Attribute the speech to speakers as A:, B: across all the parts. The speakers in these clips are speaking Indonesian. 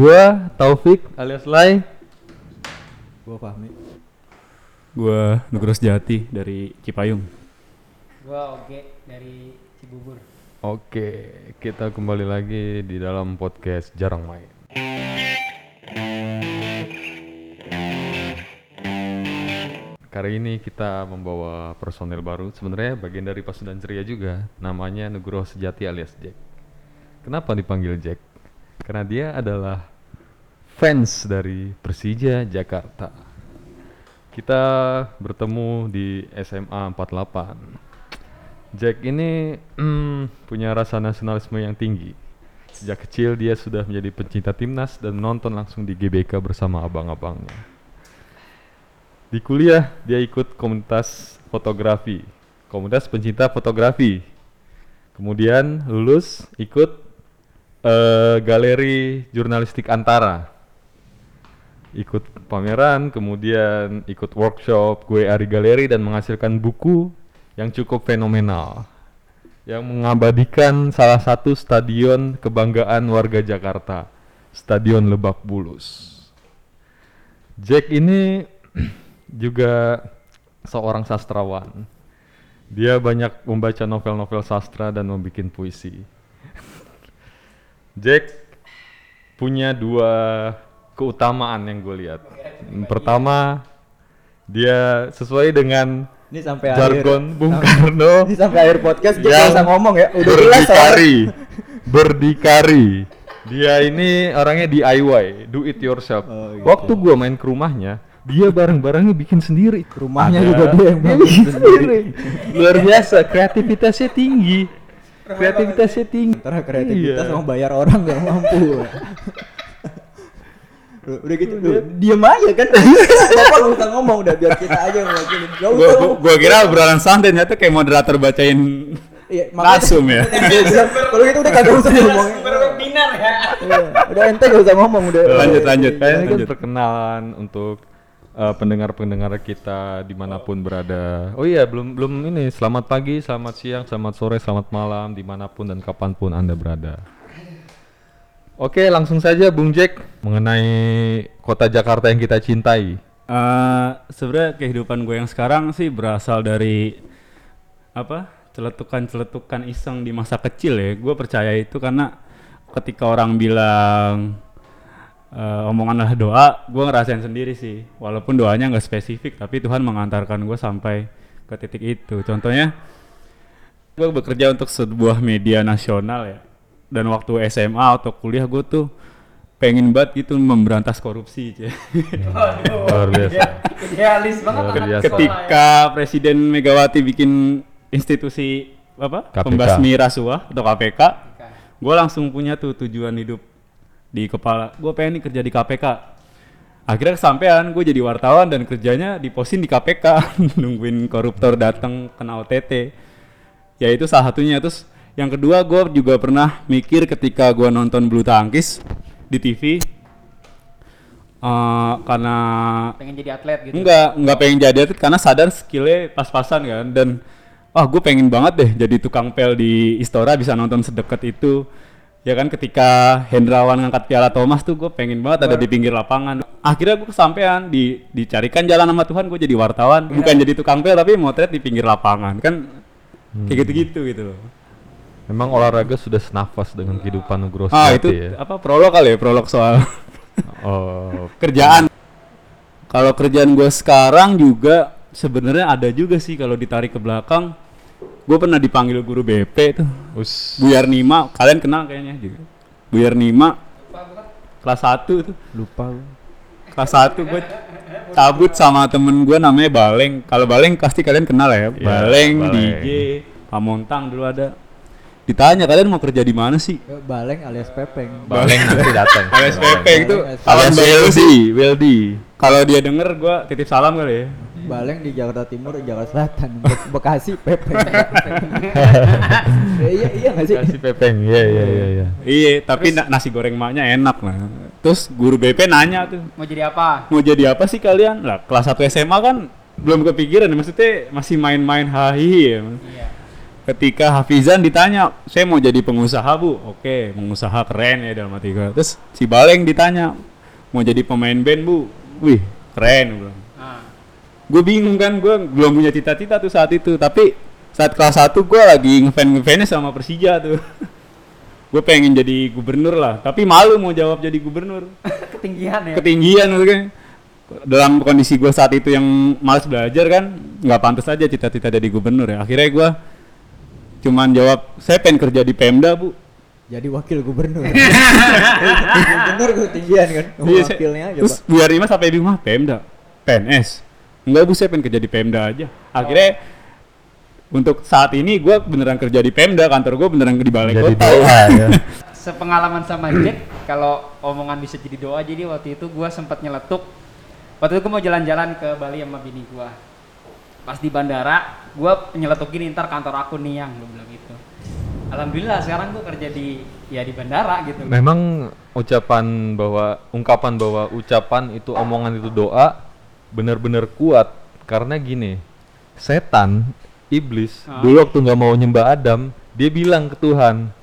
A: Gua Taufik alias Lai.
B: Gua pahami.
C: Gua Nugroho Sejati dari Cipayung.
D: Gua Oge dari Cibubur.
A: Oke, kita kembali lagi di dalam podcast Jarang Main. Kali ini kita membawa personel baru, sebenarnya bagian dari Pasudan Ceria juga. Namanya Nugroho Sejati alias Jack. Kenapa dipanggil Jack? Karena dia adalah fans dari Persija Jakarta. Kita bertemu di SMA 48. Jack ini mm, punya rasa nasionalisme yang tinggi. Sejak kecil dia sudah menjadi pencinta timnas dan menonton langsung di GBK bersama abang-abangnya. Di kuliah dia ikut komunitas fotografi, komunitas pencinta fotografi. Kemudian lulus ikut eh, galeri jurnalistik Antara. Ikut pameran, kemudian ikut workshop gue Ari Galeri dan menghasilkan buku yang cukup fenomenal yang mengabadikan salah satu stadion kebanggaan warga Jakarta, Stadion Lebak Bulus. Jack ini juga seorang sastrawan. Dia banyak membaca novel-novel sastra dan membuat puisi. Jack punya dua keutamaan yang gue lihat. Pertama, dia sesuai dengan
B: Ini sampai
A: jargon
B: akhir.
A: Bung
B: Sam-
A: Karno
B: Ini sampai akhir podcast dia
A: Yang
B: nggak usah ngomong ya. Udah jelas saya.
A: berdikari berdikari dia ini orangnya DIY do it yourself
B: Oh, gitu.
A: waktu gua main ke rumahnya dia barang-barangnya bikin sendiri
B: Rumahnya
A: Ada-
B: juga dia yang
A: Dia
B: bangun
A: bikin
B: sendiri.
A: sendiri. luar biasa kreativitasnya tinggi kreativitasnya tinggi
B: Antara kreativitas
A: Iya.
B: sama bayar orang nggak mampu. Loh, udah gitu loh, diem aja kan bapak nggak usah ngomong udah biar kita aja yang ngelakuin gak
C: Gua,
B: usah
C: gua,
B: ngomong.
C: gua kira obrolan santai ternyata kayak moderator bacain
B: Iya, makanya-
C: langsung ya.
B: Dia bilang, kalau gitu udah kagak usah ngomong
D: Berbinar ya.
B: Iya, udah ente gak usah ngomong udah
C: Lanjut lanjut.
A: Kayaknya kan
C: lanjut.
A: perkenalan untuk eh, pendengar-pendengar kita dimanapun berada. Oh iya, belum belum ini. Selamat pagi, selamat siang, selamat sore, selamat malam, dimanapun dan kapanpun anda berada. Oke, langsung saja Bung Jack mengenai kota Jakarta yang kita cintai.
C: Eh, sebenarnya kehidupan gue yang sekarang sih berasal dari apa celetukan-celetukan iseng di masa kecil ya gue percaya itu karena ketika orang bilang eh, omongan adalah doa gue ngerasain sendiri sih walaupun doanya nggak spesifik tapi Tuhan mengantarkan gue sampai ke titik itu contohnya gue bekerja untuk sebuah media nasional ya dan waktu SMA atau kuliah gue tuh pengen banget gitu memberantas korupsi cuy.
A: Luar biasa.
D: Idealis banget
A: Luar
D: anak
A: biasa.
D: sekolah ya.
C: ketika Presiden Megawati bikin institusi apa
A: KPK.
C: pembasmi rasuah atau KPK, gue langsung punya tuh tujuan hidup di kepala. Gue pengen nih kerja di KPK. Akhirnya kesampaian, gue jadi wartawan dan kerjanya di posin di KPK, nungguin koruptor datang kena OTT. Ya itu salah satunya. Terus yang kedua gue juga pernah mikir ketika gue nonton bulu tangkis di TV, eh, karena
D: Pengen jadi atlet gitu.
C: Enggak, enggak pengen jadi atlet karena sadar skillnya pas-pasan kan dan wah gue pengen banget deh jadi tukang pel di Istora bisa nonton sedekat itu. Ya kan ketika Hendrawan ngangkat piala Thomas tuh gue pengen banget ada di pinggir lapangan. Akhirnya gue kesampean di dicarikan jalan sama Tuhan gue jadi wartawan, bukan jadi tukang pel tapi motret di pinggir lapangan. Kan kayak gitu-gitu gitu loh.
A: Memang olahraga sudah senafas dengan kehidupan Nugroho Sejati
C: Ah, itu
A: ya.
C: apa prolog kali ya, prolog soal
A: Oh,
C: kerjaan kalau kerjaan gue sekarang juga sebenarnya ada juga sih kalau ditarik ke belakang gue pernah dipanggil guru BP tuh
A: us.
C: Bu Yarnima kalian kenal kayaknya juga Bu Yarnima kelas 1 tuh
B: lupa
C: kelas 1 gue cabut sama temen gue namanya Baleng kalau Baleng pasti kalian kenal ya Baleng,
A: Baleng.
C: DJ Pamontang dulu ada ditanya kalian mau kerja di mana sih
B: baleng alias pepeng
A: Baleng nanti datang.
C: alias PP itu
A: Alias
C: Alan Baleng
A: Weldy,
C: gitu, sih.
A: Weldy.
C: kalau dia denger gue titip salam kali ya
B: Baleng di Jakarta Timur, Jakarta Selatan, Be- Bekasi, Pepe. Ya, iya iya nggak sih?
A: Kasih pepeng. Iya, iya, iya, iya.
C: Iya, tapi na- nasi goreng maknya enak lah. Terus guru BP nanya tuh,
D: Mau jadi apa?
C: mau jadi apa sih kalian? Lah, kelas 1 SMA kan belum kepikiran, maksudnya masih main-main hahi ya.
D: Iya.
C: ketika Hafizan ditanya saya mau jadi pengusaha bu oke pengusaha keren ya dalam hati gue terus si Baleng ditanya mau jadi pemain band bu wih keren gue
D: Ah.
C: gue bingung kan gue belum punya cita-cita tuh saat itu tapi saat kelas 1 gue lagi ngefans ngefansnya sama Persija tuh gue pengen jadi gubernur lah tapi malu mau jawab jadi gubernur
D: Ketinggian ya.
C: ketinggian maksudnya dalam kondisi gue saat itu yang malas belajar kan nggak pantas aja cita-cita jadi gubernur ya akhirnya gue cuman jawab saya pengen kerja di Pemda bu
B: Jadi wakil gubernur. gubernur ketinggian kan.
C: Iya, saya-
B: Wakilnya aja,
C: terus
B: Pak.
C: Bu Yarima sampai di rumah Pemda PNS enggak bu saya pengen kerja di Pemda aja akhirnya
B: Oh.
C: untuk saat ini gue beneran kerja di Pemda kantor gue beneran di balai
E: Jadi
C: kota
E: doa ya.
D: Sepengalaman sama Jack, kalau omongan bisa jadi doa, jadi waktu itu gua sempat nyeletuk. Waktu itu gua mau jalan-jalan ke Bali sama bini gua. Pas di bandara, gua nyeletukin ntar kantor aku nih yang gua bilang gitu. Alhamdulillah sekarang gua kerja di ya di bandara gitu.
A: Memang ucapan bahwa ungkapan bahwa ucapan itu omongan itu doa benar-benar kuat karena gini setan iblis
D: Ah.
A: dulu waktu nggak mau nyembah Adam dia bilang ke Tuhan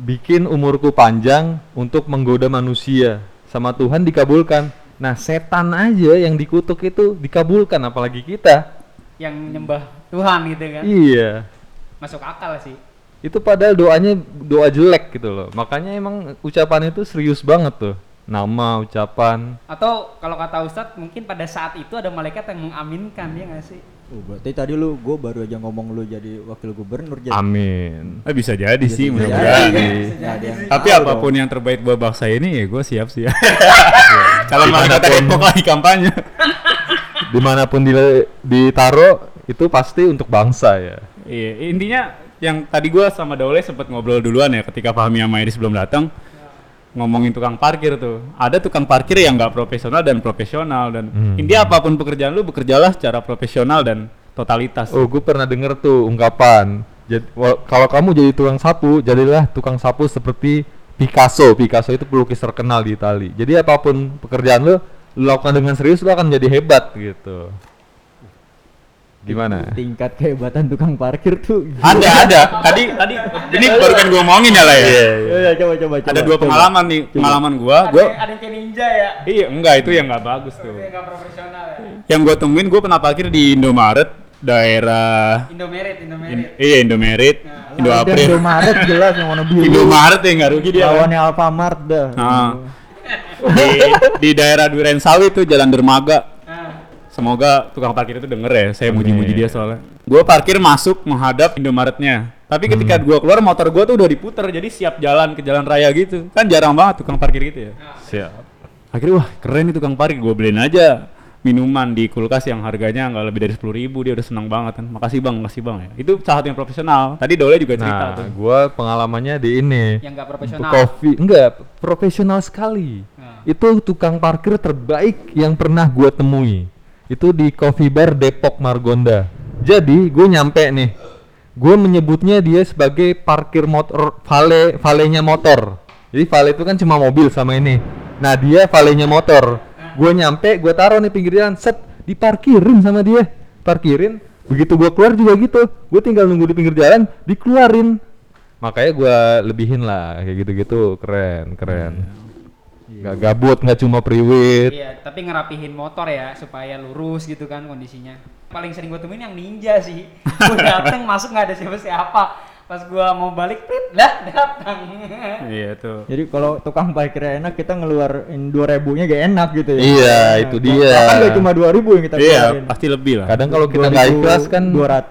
A: bikin umurku panjang untuk menggoda manusia sama Tuhan dikabulkan nah setan aja yang dikutuk itu dikabulkan apalagi kita
D: Yang nyembah Tuhan gitu kan.
A: iya
D: Masuk akal sih.
A: itu padahal doanya doa jelek gitu loh makanya emang ucapan itu serius banget tuh nama ucapan
D: Atau kalau kata Ustadz mungkin pada saat itu ada malaikat yang mengaminkan ya nggak sih?
B: Oh, berarti tadi lu gue baru aja ngomong lu jadi wakil gubernur jadi.
A: amin Iya,
C: Eh, bisa jadi sih
B: Jadi- Iya.
C: mudah-mudahan
B: jadi-
C: ya.
B: Nggak ada yang
C: tapi
B: tahu
C: apapun
B: dong.
C: yang terbaik buat bangsa ini ya gue siap sih kalau malah kata
A: Dimanapun.
C: Depok lagi kampanye
A: dimanapun dile- ditaro itu pasti untuk bangsa ya
C: Iya, intinya yang tadi gua sama Daule sempat ngobrol duluan ya ketika Fahmi sama Iris belum datang ngomongin tukang parkir tuh. Ada tukang parkir yang nggak profesional dan profesional dan
B: Hmm.
C: intinya apapun pekerjaan lu bekerjalah secara profesional dan totalitas.
A: oh gue pernah denger tuh ungkapan Jad- wa- kalau kamu jadi tukang sapu jadilah tukang sapu seperti Picasso Picasso itu pelukis terkenal di Itali jadi apapun pekerjaan lo lo lakukan dengan serius lo akan jadi hebat gitu gimana
B: Tingkat kehebatan tukang parkir tuh.
A: Iya,
C: Ada ada. Tadi tadi ini baru kan gua ngomongin ya lah ya.
B: Iya, coba coba coba.
C: Ada dua
B: coba.
C: pengalaman nih, pengalaman gua,
D: Ada,
C: gua
D: ada yang kayak ninja ya.
C: iya enggak itu yang nggak bagus tuh.
D: Yang nggak profesional ya.
C: Yang gua temuin gua pernah parkir di Indomaret daerah
D: Indomerit, Indomerit.
C: In- iya Indomaret, Indo
B: Ada
C: April.
B: Indomaret jelas yang warna biru.
C: Indomaret ya nggak rugi dia.
B: Lawannya Alfamart dah.
C: Nah, di, di daerah Duren Sawit tuh Jalan Dermaga.
D: Nah,
C: Semoga tukang parkir itu denger ya. Saya
A: Amin.
C: muji-muji dia soalnya. Gue parkir masuk menghadap Indomaretnya. Tapi ketika gua keluar motor gua tuh udah diputer jadi siap jalan ke jalan raya gitu. Kan jarang banget tukang parkir gitu ya.
A: siap
C: Akhirnya wah keren nih tukang parkir gue beliin aja minuman di kulkas yang harganya nggak lebih dari sepuluh ribu dia udah seneng banget kan makasih bang makasih bang ya itu salah satu yang profesional tadi Dole juga cerita
A: Nah,
C: tuh
A: gua pengalamannya di ini.
D: yang nggak profesional.
A: Kopi enggak profesional sekali.
D: Nah.
A: Itu tukang parkir terbaik yang pernah gua temui. Itu di Coffee Bar Depok Margonda. Jadi gue nyampe nih. Gue menyebutnya dia sebagai parkir motor vale valenya motor. Jadi vale itu kan cuma mobil sama ini. Nah dia valenya motor. Gue nyampe, gue taruh nih pinggir jalan, set diparkirin sama dia, parkirin. Begitu gue keluar juga gitu, gue tinggal nunggu di pinggir jalan, dikeluarin makanya gua lebihin lah kayak gitu-gitu keren keren
C: Iya.
A: nggak gabut nggak cuma priwit
D: Iya, tapi ngerapihin motor ya supaya lurus gitu kan kondisinya. Paling sering gue temuin yang ninja sih. Gue dateng masuk nggak ada siapa-siapa. Pas gue mau balik, prit, dah datang.
C: iya tuh
B: Jadi kalau tukang parkirnya enak kita ngeluarin 2000-nya gak enak gitu ya.
A: Iya, itu dia.
B: Kan gak cuma 2000 yang kita
C: iya pasti lebih lah
A: kadang kalau kita nggak ikhlas kan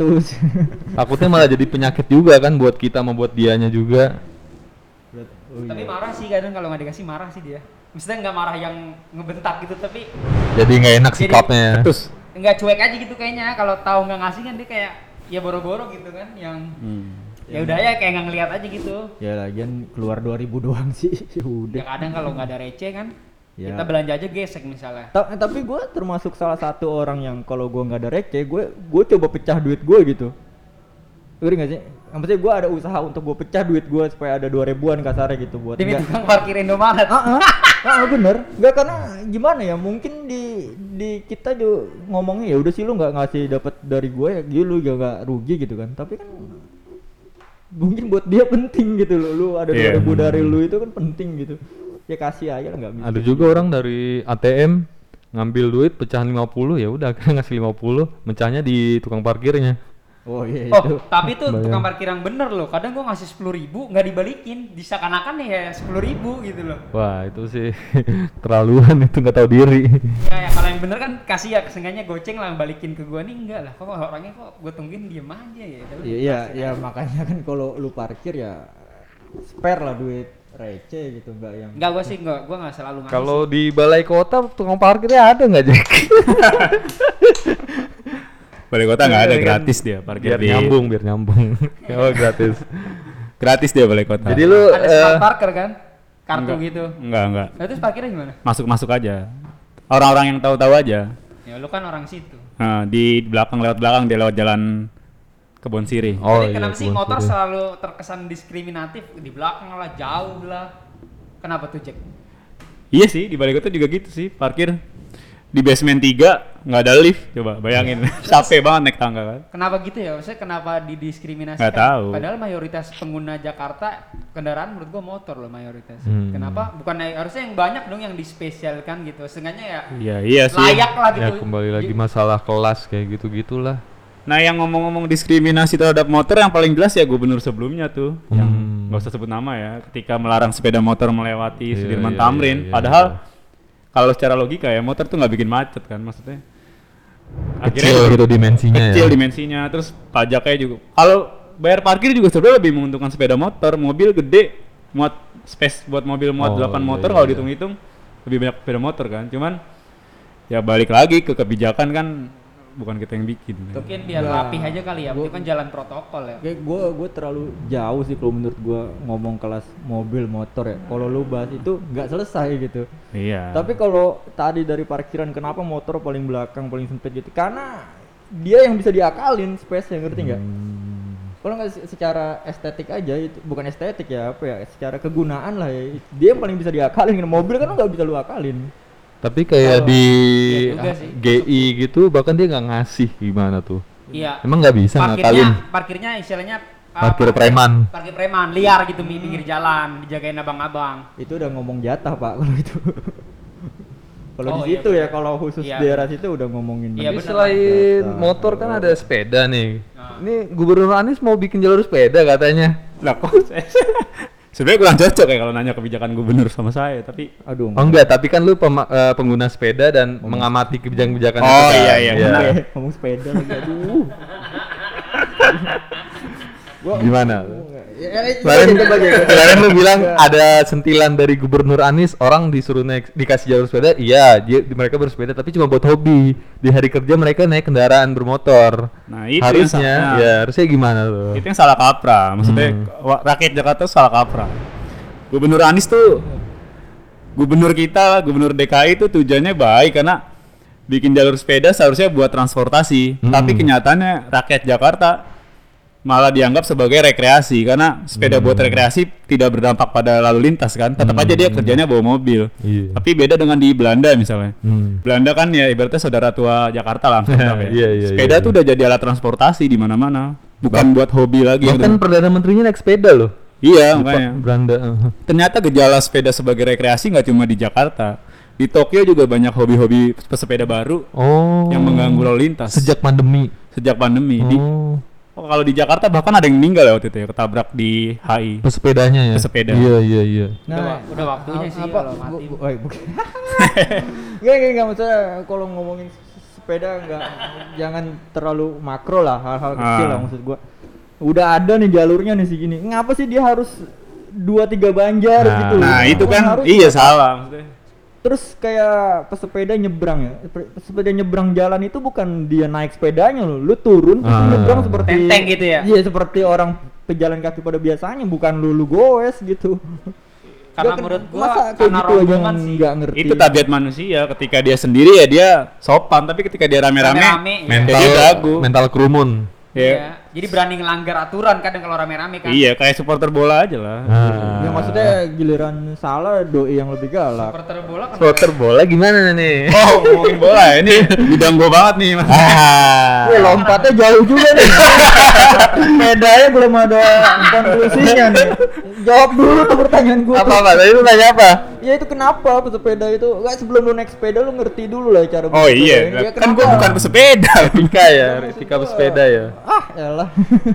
B: 200.
A: takutnya malah jadi penyakit juga kan buat kita sama buat dianya juga
B: Oh,
D: tapi
B: iya.
D: marah sih kadang kalau nggak dikasih marah sih dia. Maksudnya nggak marah yang ngebentak gitu, tapi
A: jadi nggak enak
D: Jadi-
A: sikapnya
C: terus
D: nggak cuek aja gitu kayaknya. Kalau tahu nggak ngasih kan dia kayak ya boro-boro gitu kan. Yang
B: Hmm.
D: ya udah ya kayak nggak ngeliat aja gitu.
B: ya lagian keluar 2000 doang sih.
D: Ya
B: Udah.
D: kadang kalau nggak ada receh kan,
B: Ya.
D: kita belanja aja gesek misalnya.
B: Ta- eh, tapi gue termasuk salah satu orang yang kalau gue nggak ada receh, gue gue coba pecah duit gue gitu. Ngerti gak sih? Yang Maksudnya gue ada usaha untuk gue pecah duit gue supaya ada 2000-an kasarnya gitu buat
D: Demi
B: nggak-
D: tukang parkir Indomaret.
B: Ah, ah, ah, bener. Gak karena gimana ya? Mungkin di di kita juga ngomongnya ya udah sih lu nggak ngasih dapat dari gue ya, gitu lu juga nggak rugi gitu kan. Tapi kan mungkin buat dia penting gitu loh lu ada
C: Iya.
B: 2000 dari lu itu kan penting gitu ya kasih aja lah nggak bisa
A: Ada juga orang dari ATM ngambil duit pecahan 50 ya udah akhirnya ngasih 50 mecahnya di tukang parkirnya.
B: oh iya
D: Oh,
B: itu
D: tapi itu
A: Bayang.
D: tukang parkir yang bener loh. Kadang gua ngasih sepuluh ribu nggak dibalikin, disakanakan ya sepuluh ribu gitu loh.
A: Wah, itu sih terlaluan itu nggak tahu diri.
D: Ya, ya, kalau yang bener kan kasih ya seenggaknya goceng lah balikin ke gua nih enggak lah. Kok orangnya kok gua tungguin diem aja ya. Udah,
B: iya iya ya, makanya kan kalau lu parkir ya spare lah duit receh gitu nggak yang
D: Enggak gua sih enggak, gua enggak selalu ngasih.
A: Kalau di balai kota tukang parkirnya ada nggak Jack?
C: Balik kota nggak ada
A: Iya, kan?
C: gratis dia parkir
A: Biar
C: di-
A: nyambung, biar nyambung. oh, gratis.
C: Gratis dia balik kota.
A: Jadi lu
D: ada smart
A: eh,
D: parker kan? Kartu
C: Enggak.
D: gitu.
C: Enggak, enggak.
D: Nah, terus parkirnya gimana?
C: Masuk-masuk aja. Orang-orang yang tahu-tahu aja.
D: Ya lu kan orang situ.
C: Nah, di belakang lewat belakang dia lewat jalan kebon sirih.
A: Oh,
D: Jadi
A: iya,
D: kenapa sih
A: kebun
D: motor
A: sirih.
D: selalu terkesan diskriminatif di belakang lah, jauh lah. Kenapa tuh, Jack?
C: Iya sih, di balik kota juga gitu sih, parkir di basement 3 nggak ada lift. Coba bayangin,
A: Iya.
C: capek banget naik tangga kan.
D: Kenapa gitu ya? Maksudnya kenapa didiskriminasi?
C: Nggak tahu.
D: Padahal mayoritas pengguna Jakarta kendaraan menurut gua motor loh mayoritas.
A: Hmm.
D: Kenapa? Bukan harusnya yang banyak dong yang dispesialkan gitu. Seenggaknya ya
C: Iya, iya sih.
D: layak lah gitu.
A: ya kembali lagi masalah kelas kayak gitu-gitulah.
C: Nah, yang ngomong-ngomong diskriminasi terhadap motor yang paling jelas ya gubernur sebelumnya tuh, yang
A: Hmm.
C: nggak usah sebut nama ya, ketika melarang sepeda motor melewati
A: Iya,
C: Sudirman
A: iya,
C: Tamrin.
A: iya, iya,
C: Padahal
A: iya.
C: kalau secara logika ya motor tuh nggak bikin macet kan maksudnya.
A: Kecil gitu dimensinya
C: kecil
A: ya.
C: dimensinya terus pajaknya juga kalau bayar parkir juga sebenarnya lebih menguntungkan sepeda motor mobil gede muat space buat mobil
A: Oh,
C: muat 8
A: iya,
C: motor
A: iya,
C: kalau
A: iya.
C: dihitung-hitung lebih banyak sepeda motor kan cuman ya balik lagi ke kebijakan kan bukan kita yang bikin
D: Mungkin biar rapih aja kali ya. Itu kan jalan protokol ya.
B: Kayak gue gue terlalu jauh sih kalau menurut gue ngomong kelas mobil motor ya. Kalau lu bahas itu nggak selesai gitu.
C: iya
B: Tapi kalau tadi dari parkiran kenapa motor paling belakang paling sempit gitu? Karena dia yang bisa diakalin space yang ngerti nggak? Kalau nggak se- secara estetik aja itu bukan estetik ya apa ya? Secara kegunaan lah ya. Dia yang paling bisa diakalin. Mobil kan lu nggak bisa lu akalin.
A: Tapi kayak di
D: iya juga sih.
A: GI gitu bahkan dia nggak ngasih gimana tuh.
D: Iya.
A: Emang nggak bisa
D: parkirnya
A: ngakalin.
D: parkirnya istilahnya uh,
A: Parkir preman.
D: Parkir preman liar gitu di pinggir jalan, dijagain abang-abang.
B: Itu udah ngomong jatah pak kalau itu.
D: Oh,
B: kalau di
D: iya,
B: situ ya kalau khusus
D: Iya.
B: daerah situ udah ngomongin.
D: Iya,
A: Tapi
D: bener.
A: selain
B: Biasa.
A: motor kan ada sepeda nih.
D: Nah.
A: Ini Gubernur Anies mau bikin jalur sepeda katanya.
C: lah kok saya- sebenarnya kurang cocok ya kalau nanya kebijakan gubernur sama saya tapi
B: Aduh.
A: Oh enggak, tapi kan lu pema- eh, pengguna sepeda dan mengamati kebijakan-kebijakan itu
C: Oh,
A: kan.
C: iya, iya, benar.
B: Iya, ngomong sepeda lagi aduh. gua
A: Gimana?
B: ya,
A: Kemarin, kemarin lu bilang
B: Iya.
A: ada sentilan dari Gubernur Anies orang disuruh naik dikasih jalur sepeda, iya dia, mereka bersepeda tapi cuma buat hobi. Di hari kerja mereka naik kendaraan bermotor.
C: Nah, itu yang
A: harusnya
C: sa- nah.
A: ya harusnya gimana tuh?
C: itu yang salah kaprah maksudnya
A: Hmm.
C: wa- rakyat Jakarta tuh salah kaprah gubernur Anies tuh gubernur kita gubernur DKI itu tujuannya baik karena bikin jalur sepeda seharusnya buat transportasi
A: Hmm.
C: tapi kenyataannya rakyat Jakarta malah dianggap sebagai rekreasi karena sepeda
A: Hmm.
C: buat rekreasi tidak berdampak pada lalu lintas kan tetap aja dia kerjanya bawa mobil
A: Iya.
C: tapi beda dengan di Belanda misalnya
A: Hmm.
C: Belanda kan ya ibaratnya saudara tua Jakarta lah Amsterdam ya.
A: Iya, iya,
C: sepeda
A: iya.
C: tuh udah jadi alat transportasi di mana-mana bukan buat hobi lagi
B: Iya,
A: Bahkan
C: gitu.
A: perdana menterinya naik sepeda loh.
C: iya
A: Lupa,
C: makanya
A: Belanda.
C: ternyata gejala sepeda sebagai rekreasi nggak cuma di Jakarta di Tokyo juga banyak hobi-hobi pesepeda baru
A: Oh.
C: yang mengganggu lalu lintas
A: sejak pandemi.
C: sejak pandemi di,
A: Oh.
C: oh, kalau di Jakarta bahkan ada yang meninggal ya waktu itu ya ketabrak di HI
A: Pesepedanya ya.
C: Pesepeda.
A: Iya iya iya.
D: Udah wa- udah
B: Ah,
D: waktunya sih kalau mati.
B: Gua, gua, Enggak, enggak, enggak maksudnya kalau ngomongin se- sepeda enggak jangan terlalu makro lah hal-hal kecil
C: Ah.
B: lah maksud gua. Udah ada nih jalurnya nih segini. Ngapa sih dia harus dua tiga banjar
A: Nah,
B: gitu loh?
C: nah itu
B: Bukan
C: kan
B: harus-
C: iya salah maksudnya
B: Terus kayak pesepeda nyebrang ya. Pe- Pesepeda nyebrang jalan itu bukan dia naik sepedanya loh. Lu turun terus
A: Ah.
B: nyebrang seperti
D: Tenteng gitu ya?
B: Iya, seperti orang pejalan kaki pada biasanya bukan lu lu goes gitu.
D: Karena
B: Ya kan,
D: menurut gua
B: masa kayak
D: karena
B: gitu aja
D: rombongan sih.
B: nggak ngerti.
C: itu tabiat manusia ketika dia sendiri ya dia sopan tapi ketika dia rame-rame
D: Rame-rame,
C: ya dia
A: Mental
C: dagu
A: mental kerumun.
C: ya
D: Iya. Jadi berani ngelanggar aturan kadang kalau rame-rame kan.
C: Iya, kayak supporter bola aja lah.
A: Nah,
B: Ya maksudnya giliran salah doi yang lebih galak.
D: Supporter bola kan
A: Supporter bola gimana nih?
C: Oh, ngomongin bola ya, ini bidang gua banget nih, Mas.
B: Wih,
C: Ah.
B: lompatnya jauh juga nih. Nah, Bedanya belum ada konklusinya nih. Jawab dulu tuh pertanyaan gue.
E: apa apa tadi lu tanya apa
B: Ya itu kenapa pesepeda itu? Enggak sebelum lu naik sepeda lu ngerti dulu lah cara
C: Oh iya,
B: bersepeda. Ya,
C: kan
B: kenapa?
C: gua bukan pesepeda.
E: Rika ya Rika bersepeda ya
B: Ah, elah.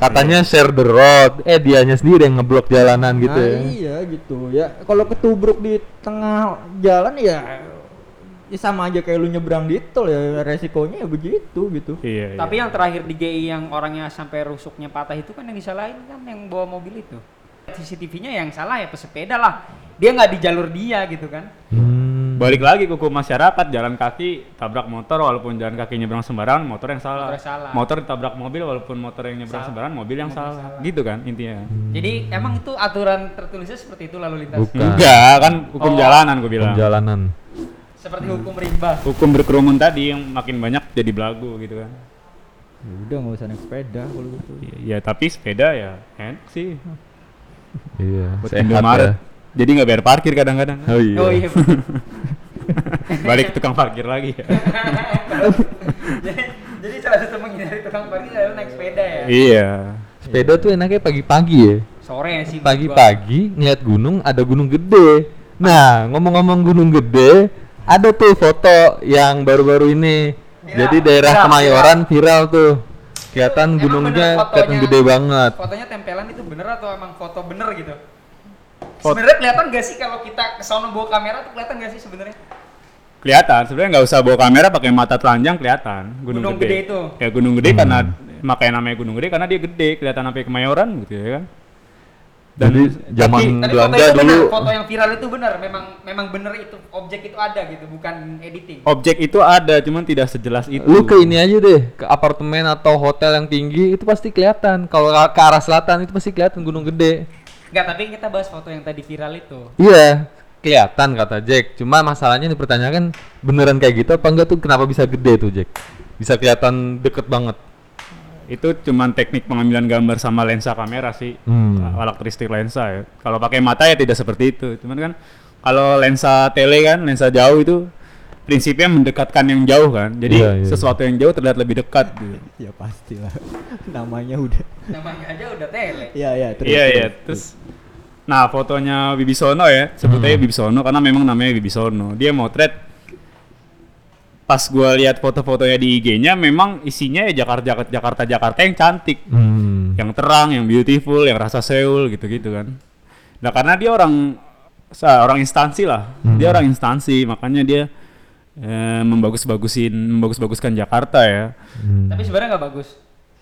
E: katanya share the road eh dianya sendiri yang ngeblok jalanan gitu
B: Nah,
E: ya
B: Iya gitu ya. Kalau ketubruk di tengah jalan ya ya sama aja kayak lu nyebrang di tol ya resikonya ya begitu gitu.
C: Iya.
D: Tapi yang terakhir di GI yang orangnya sampai rusuknya patah itu kan yang disalahin kan yang bawa mobil itu. CCTV-nya yang salah ya pesepeda lah. Dia nggak di jalur dia gitu kan.
E: Hmm.
C: balik lagi ke hukum masyarakat jalan kaki tabrak motor walaupun jalan kaki nyebrang sembarangan motor yang salah
D: Motor salah.
C: motor ditabrak mobil walaupun motor yang nyebrang
D: Salah.
C: sembarangan mobil yang
D: Mobil
C: salah.
D: salah.
C: gitu kan intinya
D: Jadi
A: Hmm.
D: emang itu aturan tertulisnya seperti itu lalu lintas.
A: Bukan.
C: enggak kan hukum
D: Oh.
C: jalanan gue bilang
E: jalanan
D: Seperti hukum rimba.
C: hukum berkerumun tadi yang makin banyak jadi belagu gitu kan
B: Ya udah nggak usah naik sepeda kalau gitu.
C: ya tapi sepeda ya enak sih
A: Iya.
C: buat
A: sehat
C: Indomaret
A: ya.
C: jadi nggak bayar parkir kadang-kadang
A: Oh iya.
D: Oh iya. bener.
C: balik ke tukang parkir lagi ya.
D: jadi, jadi salah satu menghindari tukang parkir adalah naik sepeda ya.
C: iya
E: sepeda tuh enaknya pagi-pagi ya
D: Sore sih. menurut gua.
E: pagi-pagi ngeliat gunung ada gunung gede nah ngomong-ngomong gunung gede ada tuh foto yang baru-baru ini
D: Viral,
E: jadi daerah
D: viral,
E: Kemayoran viral tuh kelihatan
D: Emang
E: gunungnya
D: bener fotonya-
E: kelihatan gede banget
D: Fotonya tempelan itu bener atau emang foto bener gitu?
C: Foto-
D: Sebenarnya kelihatan gak sih kalau kita kesana bawa kamera tuh kelihatan gak sih sebenarnya?
C: kelihatan sebenarnya nggak usah bawa kamera pakai mata telanjang kelihatan gunung,
D: Gunung
C: gede.
D: gede itu.
C: ya gunung gede karena
A: Hmm.
C: makanya namanya gunung gede karena dia gede kelihatan sampai kemayoran gitu ya kan dan
A: Jadi zaman
D: Tadi foto
A: Belanda
D: itu
A: dulu
D: benar, foto yang viral itu benar, memang memang benar itu objek itu ada gitu, bukan editing.
C: objek itu ada cuman tidak sejelas itu
E: lu ke ini aja deh ke apartemen atau hotel yang tinggi itu pasti kelihatan kalau ke arah selatan itu pasti kelihatan gunung gede
D: Enggak, tapi kita bahas foto yang tadi viral itu.
E: iya kelihatan kata Jack cuma masalahnya yang dipertanyakan beneran kayak gitu apa enggak tuh kenapa bisa gede tuh Jack bisa kelihatan deket banget
C: itu cuman teknik pengambilan gambar sama lensa kamera sih
E: Hmm.
C: karakteristik lensa ya kalau pakai mata ya tidak seperti itu cuman kan kalau lensa tele kan lensa jauh itu prinsipnya mendekatkan yang jauh kan jadi
E: Iya, iya.
C: sesuatu yang jauh terlihat lebih dekat gitu.
B: Ya pastilah. Namanya udah.
D: Namanya aja udah tele.
B: Iya iya terus.
C: Iya
B: terus,
C: iya. Terus nah fotonya Bibisono ya,
E: Hmm.
C: sebetulnya Bibisono karena memang namanya Bibisono. Dia motret pas gua lihat foto-fotonya di IG-nya memang isinya ya Jakarta Jakarta Jakarta yang cantik,
E: hmm.
C: yang terang, yang beautiful, yang rasa Seoul gitu-gitu kan. Nah, karena dia orang sa- orang instansi lah. Dia orang instansi, makanya dia eh, membagus-bagusin membagus-baguskan Jakarta ya.
D: Tapi sebenarnya nggak bagus.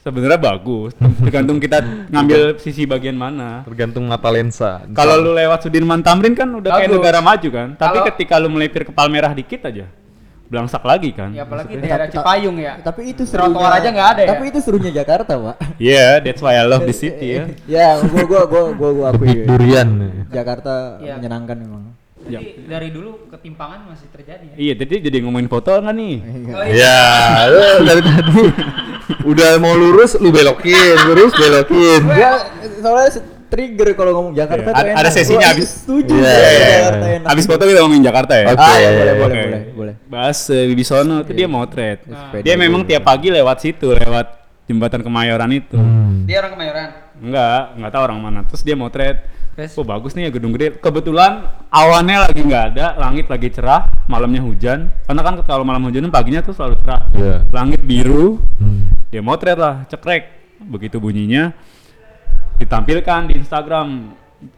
C: Sebenarnya bagus, tergantung kita ngambil sisi bagian mana.
E: tergantung mata lensa
C: Kalau lu lewat Sudirman Tamrin kan udah kayak
D: Bagus.
C: negara maju kan. Tapi
D: Kalau-
C: ketika lu melipir ke Palmerah dikit aja, belangsak lagi kan. Iya,
D: Ya apalagi
B: Maksudnya-
D: daerah
B: tapi-
D: Cipayung ya.
B: Tapi itu serunya.
D: Trotoar aja nggak ada ya?
B: Tapi itu serunya Jakarta, Pak.
C: Iya, that's why I love this city ya.
B: ya, gua gua gua gua gua akui. ya.
E: durian
B: Jakarta
D: Iya.
B: menyenangkan memang.
D: Jadi dari dulu ketimpangan masih terjadi ya.
C: Iya, jadi jadi ngomongin foto nggak nih?
D: Oh, iya.
E: ya lu dari tadi udah mau lurus lu belokin lurus belokin
B: Gua Ya, soalnya se- trigger kalau ngomong
C: Iya,
B: Jakarta tuh
C: ada-
B: enak.
C: ada sesinya
B: Gua
C: abis.
B: Setuju.
E: Iya,
B: soalnya
E: iya, iya.
B: Jakarta enak.
C: Habis foto kita ngomongin Jakarta ya.
E: Oke,
C: Ah,
E: iya,
B: boleh,
E: iya,
B: boleh,
C: oke.
B: boleh, boleh.
C: Bahas eh, Bibisono tuh dia motret.
B: Sepeda
C: Dia memang tiap pagi lewat situ, lewat jembatan Kemayoran itu.
D: Dia orang Kemayoran.
C: Enggak, enggak tahu orang mana. Terus dia motret.
D: Terus?
C: Oh bagus nih ya gedung gede. Kebetulan awannya lagi nggak ada, langit lagi cerah, malamnya hujan. Karena kan kalau malam hujan paginya tuh selalu cerah.
A: Iya.
C: Langit biru.
E: Hmm,
C: Dia motret lah, cekrek. Begitu bunyinya ditampilkan di Instagram.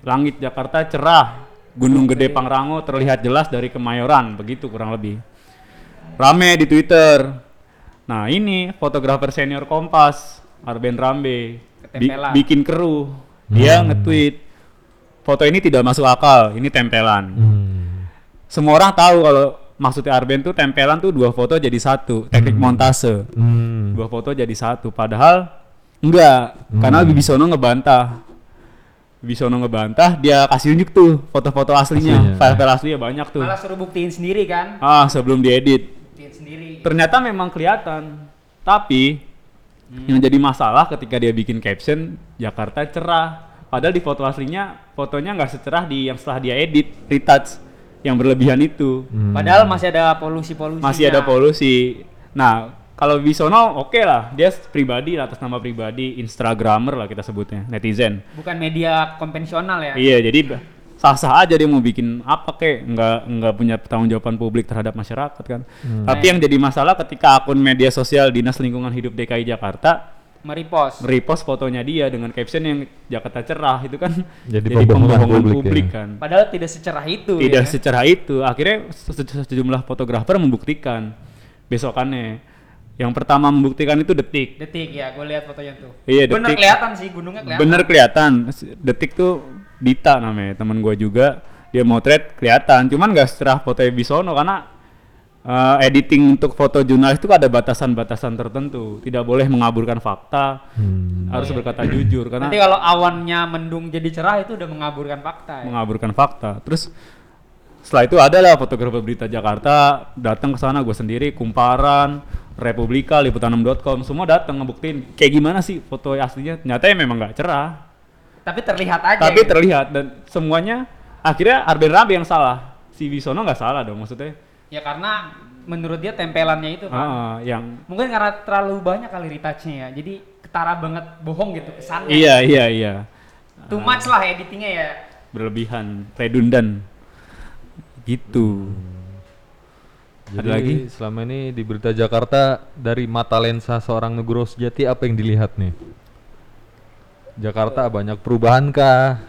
C: Langit Jakarta cerah. Gunung Gede Pangrango terlihat jelas dari Kemayoran, begitu kurang lebih. Rame di Twitter. Nah, ini fotografer senior Kompas, Arben Rambe, bi-
D: Ketempelan.
C: bikin keruh. Dia nge-tweet, foto ini tidak masuk akal, ini
A: Hmm.
C: tempelan.
E: hmm,
C: Semua orang tahu kalau maksudnya Arben tuh tempelan tuh dua foto jadi satu, teknik montase.
E: hmm.
C: Dua foto jadi satu, padahal Hmm. Hmm. enggak, karena Bibisono ngebantah. Bibisono ngebantah, dia kasih unjuk tuh foto-foto aslinya, ya.
A: Aslinya.
C: file-file aslinya banyak tuh.
D: Malah suruh buktiin sendiri kan.
C: Ah, sebelum diedit
D: Buktiin sendiri.
C: ternyata memang kelihatan tapi Yang jadi masalah ketika dia bikin caption Jakarta cerah. Padahal di foto aslinya fotonya nggak secerah di yang setelah dia edit retouch yang berlebihan itu.
D: Padahal masih ada polusi-polusi.
C: Hmm. Masih ada polusi. Nah, kalau Bisono oke lah, dia pribadi lah, atas nama pribadi Instagramer lah kita sebutnya, netizen.
D: Bukan media konvensional ya.
C: Iya, jadi b- sah-sah aja dia mau bikin apa kek, nggak nggak punya pertanggung jawaban publik terhadap masyarakat kan.
E: Hmm.
C: Tapi yang jadi masalah ketika akun media sosial Dinas Lingkungan Hidup DKI Jakarta
D: Meripos.
C: repost fotonya dia dengan caption yang Jakarta cerah itu kan
E: Jadi pembohongan publik ya.
C: kan.
D: Padahal tidak secerah itu.
C: Tidak
D: ya.
C: secara itu, akhirnya se- se- sejumlah fotografer membuktikan besokannya. Yang pertama membuktikan itu detik.
D: Detik ya, gue lihat fotonya tuh.
C: Iya,
D: Bener
C: detik.
D: kelihatan sih gunungnya kelihatan.
C: Bener kelihatan. S- Detik tuh Dita namanya, teman gua juga. Dia motret kelihatan, cuman gak secerah foto Bisono karena uh, editing untuk foto jurnalis itu ada batasan-batasan tertentu. Tidak boleh mengaburkan fakta, harus berkata jujur karena
D: Nanti kalau awannya mendung jadi cerah itu udah mengaburkan fakta ya.
C: mengaburkan fakta. Terus setelah itu adalah fotografer berita Jakarta datang ke sana gue sendiri kumparan Republika liputan6.com semua datang ngebuktiin kayak gimana sih foto aslinya nyatanya memang nggak cerah
D: Tapi terlihat aja.
C: tapi
D: gitu.
C: terlihat dan semuanya akhirnya Arben Rabe yang salah si Wisono nggak salah dong maksudnya
D: ya karena menurut dia tempelannya itu kan.
C: Ah, yang
D: Mungkin karena terlalu banyak kali retouchnya ya. Jadi ketara banget bohong gitu kesannya.
C: iya iya iya
D: Too much lah editingnya ya.
C: berlebihan redundan gitu
A: Jadi
C: Ada lagi?
A: selama ini di berita Jakarta dari mata lensa seorang Nugroho sejati apa yang dilihat nih? Jakarta banyak perubahan kah?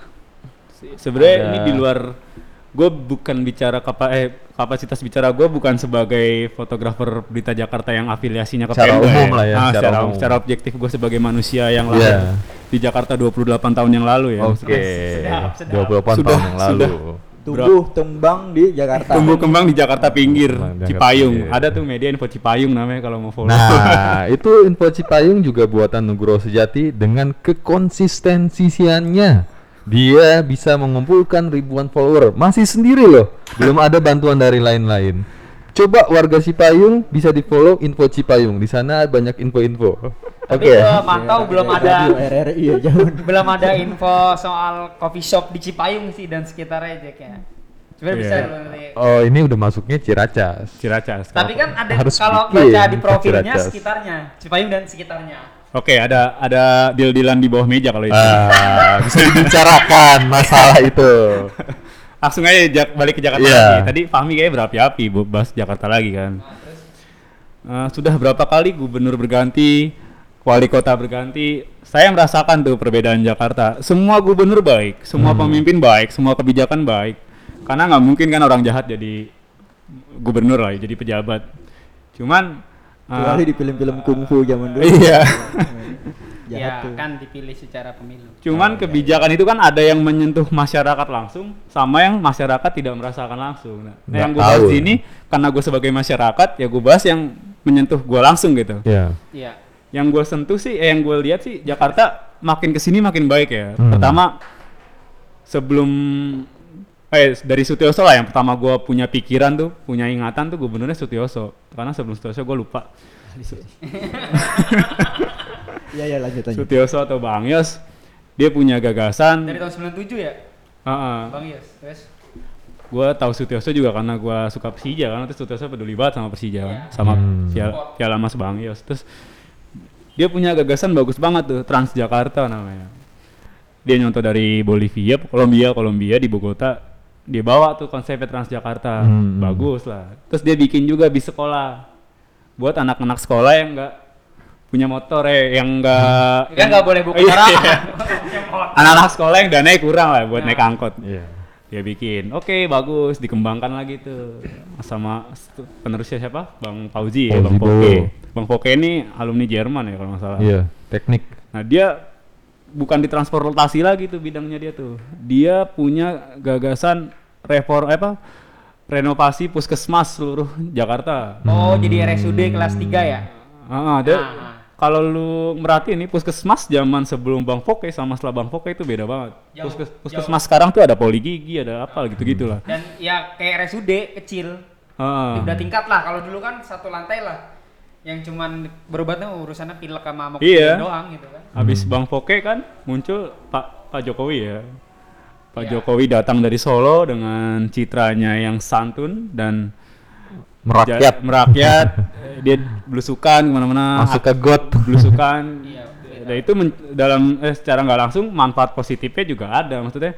C: Se- sebenarnya
A: Ada-
C: ini di luar gue bukan bicara kapa eh, kapasitas bicara gue bukan sebagai fotografer berita Jakarta yang afiliasinya ke
E: Secara
C: Pemda
E: umum lah ya,
C: Ah,
E: secara
C: secara,
E: umum.
C: secara objektif gue sebagai manusia yang
E: Iya.
C: lahir di Jakarta 28 tahun yang lalu ya
A: Oke,
D: Sedap, sedap.
A: 28 tahun
C: Sudah,
A: yang lalu.
B: Tumbuh tembang di Jakarta.
C: Tumbuh kembang di Jakarta pinggir,
A: Kembang Jakarta
C: Cipayung.
A: pinggir.
C: Ada tuh media info Cipayung namanya kalau mau follow.
E: Nah, itu info Cipayung juga buatan Nugroho Sejati dengan kekonsistensiannya. Dia bisa mengumpulkan ribuan follower, masih sendiri loh. Belum ada bantuan dari lain-lain. Coba warga Cipayung bisa di-follow info Cipayung. Di sana banyak info-info.
D: Tapi
E: Oke.
D: gua pantau belum ada
B: Radio RRI ya jangan.
C: Ah.
D: belum ada info soal coffee shop di Cipayung sih dan sekitarnya Jack ya. Sebenarnya bisa
C: Iya.
D: loh nanti.
E: Oh, ini udah masuknya Ciracas.
C: Ciracas.
D: Tapi
C: kalau-
D: kan ada
E: harus
D: kalau
E: bikin
D: baca di profilnya
E: Ciracas.
D: sekitarnya, Cipayung dan sekitarnya.
C: Oke, ada ada deal-dealan di bawah meja kalau itu.
E: Ah, bisa dibicarakan masalah itu.
C: Langsung aja Jak- balik ke Jakarta
E: Iya.
C: lagi. Tadi Fahmi kayaknya berapi-api bu- bahas Jakarta lagi kan. Eh, sudah berapa kali gubernur berganti, wali kota berganti, saya merasakan tuh perbedaan Jakarta. Semua gubernur baik, semua pemimpin baik, semua kebijakan baik. Karena nggak mungkin kan orang jahat jadi gubernur lah, jadi pejabat. Cuman eh,
B: Kecuali di film-film kungfu zaman dulu.
C: Iya.
B: Jahat
D: Ya,
B: tuh.
D: kan dipilih secara pemilu.
E: Nah,
C: Cuman kebijakan
E: iya.
C: itu kan ada yang menyentuh masyarakat langsung, sama yang masyarakat tidak merasakan langsung. Nah,
E: Nggak
C: yang gue
E: tahu.
C: bahas
E: ya.
C: di sini karena gue sebagai masyarakat ya gue bahas yang menyentuh gue langsung gitu.
E: Ya.
D: Iya.
C: Yang gue sentuh sih, eh, yang gue lihat sih Jakarta makin kesini makin baik ya.
E: Hmm.
C: Pertama sebelum eh dari Sutioso lah yang pertama gue punya pikiran tuh, punya ingatan tuh gubernurnya Sutioso. Karena sebelum Sutioso gue lupa.
B: Iya iya lanjut lanjut.
C: Sutioso atau Bang Yos dia punya gagasan.
D: Dari tahun 97 ya,
C: Heeh.
D: Bang Yos. Terus
C: gue tahu Sutioso juga karena gue suka Persija kan terus Sutioso peduli banget sama Persija kan sama Piala, Piala Mas Bang Yos terus dia punya gagasan bagus banget tuh Transjakarta namanya dia nyontoh dari Bolivia Kolombia Kolombia di Bogota dia bawa tuh konsepnya Transjakarta bagus lah terus dia bikin juga bis sekolah buat anak-anak sekolah yang nggak punya motor eh yang nggak
D: kan nggak boleh buka
C: Iya.
D: harapan.
C: anak-anak sekolah yang dananya kurang lah
D: Nah.
C: buat naik angkot
A: Iya.
C: dia bikin oke bagus dikembangkan lagi tuh sama stu- penerusnya siapa bang Fauzi ya
E: Fauzi
C: bang Foke
E: Bowo.
C: bang Foke ini alumni Jerman ya kalau nggak salah
E: Iya, teknik.
C: nah dia bukan di transportasi lagi tuh bidangnya dia tuh dia punya gagasan reform apa renovasi puskesmas seluruh Jakarta
E: Hmm.
D: Oh, jadi RSUD kelas 3 ya.
C: Ah, ada.
D: Ah, ah.
C: Kalau lu merhatiin nih puskesmas zaman sebelum Bang Foke sama setelah Bang Foke itu beda banget.
D: Jauh,
C: Puskes- puskesmas sekarang tuh ada poli gigi, ada apa gitu-gitu lah.
D: Dan ya kayak RSUD kecil.
C: Ah.
D: Udah tingkat lah. Kalau dulu kan satu lantai lah. yang cuman berobatnya urusannya pilek sama amok
C: Iya.
D: doang gitu kan.
E: Hmm.
C: Habis Bang Poke kan muncul Pak Pak Jokowi ya. Pak
E: Ya.
C: Jokowi datang dari Solo dengan citranya yang santun dan
E: Merakyat.
C: ja- merakyat. Eh, Dia belusukan kemana-mana.
E: Masuk ke got.
C: belusukan.
D: Iya,
C: Dan itu men- dalam eh, secara nggak langsung manfaat positifnya juga ada. Maksudnya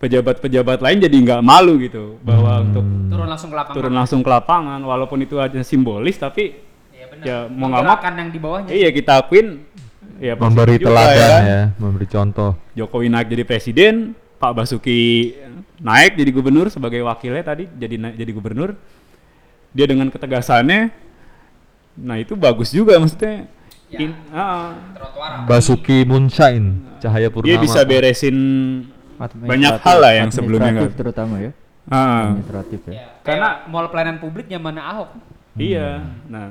C: pejabat-pejabat lain jadi nggak malu gitu
E: Hmm.
C: bahwa untuk
D: Turun langsung ke lapangan.
C: turun langsung ke lapangan walaupun itu aja simbolis tapi
D: Iya benar.
C: ya mau nggak mau
D: Menggerakkan yang di bawahnya.
C: iya kita akuin ya positif
E: Memberi
C: juga
E: teladan
C: kan.
E: ya, memberi contoh.
C: Jokowi naik jadi presiden, Pak Basuki naik jadi gubernur sebagai wakilnya tadi jadi na- jadi gubernur. Dia dengan ketegasannya, nah itu bagus juga maksudnya. In- ah,
D: Trotoar.
E: Basuki Moonshine, Cahaya
C: dia
E: Purnama.
C: bisa beresin banyak hal lah yang sebelumnya
B: Administratif
C: nggak.
B: terutama ya
C: Ah,
B: administratif ya
D: Iya.
C: Karena-
D: Karena mall pelayanan publik zaman Ahok.
C: iya.
E: Hmm.
C: Nah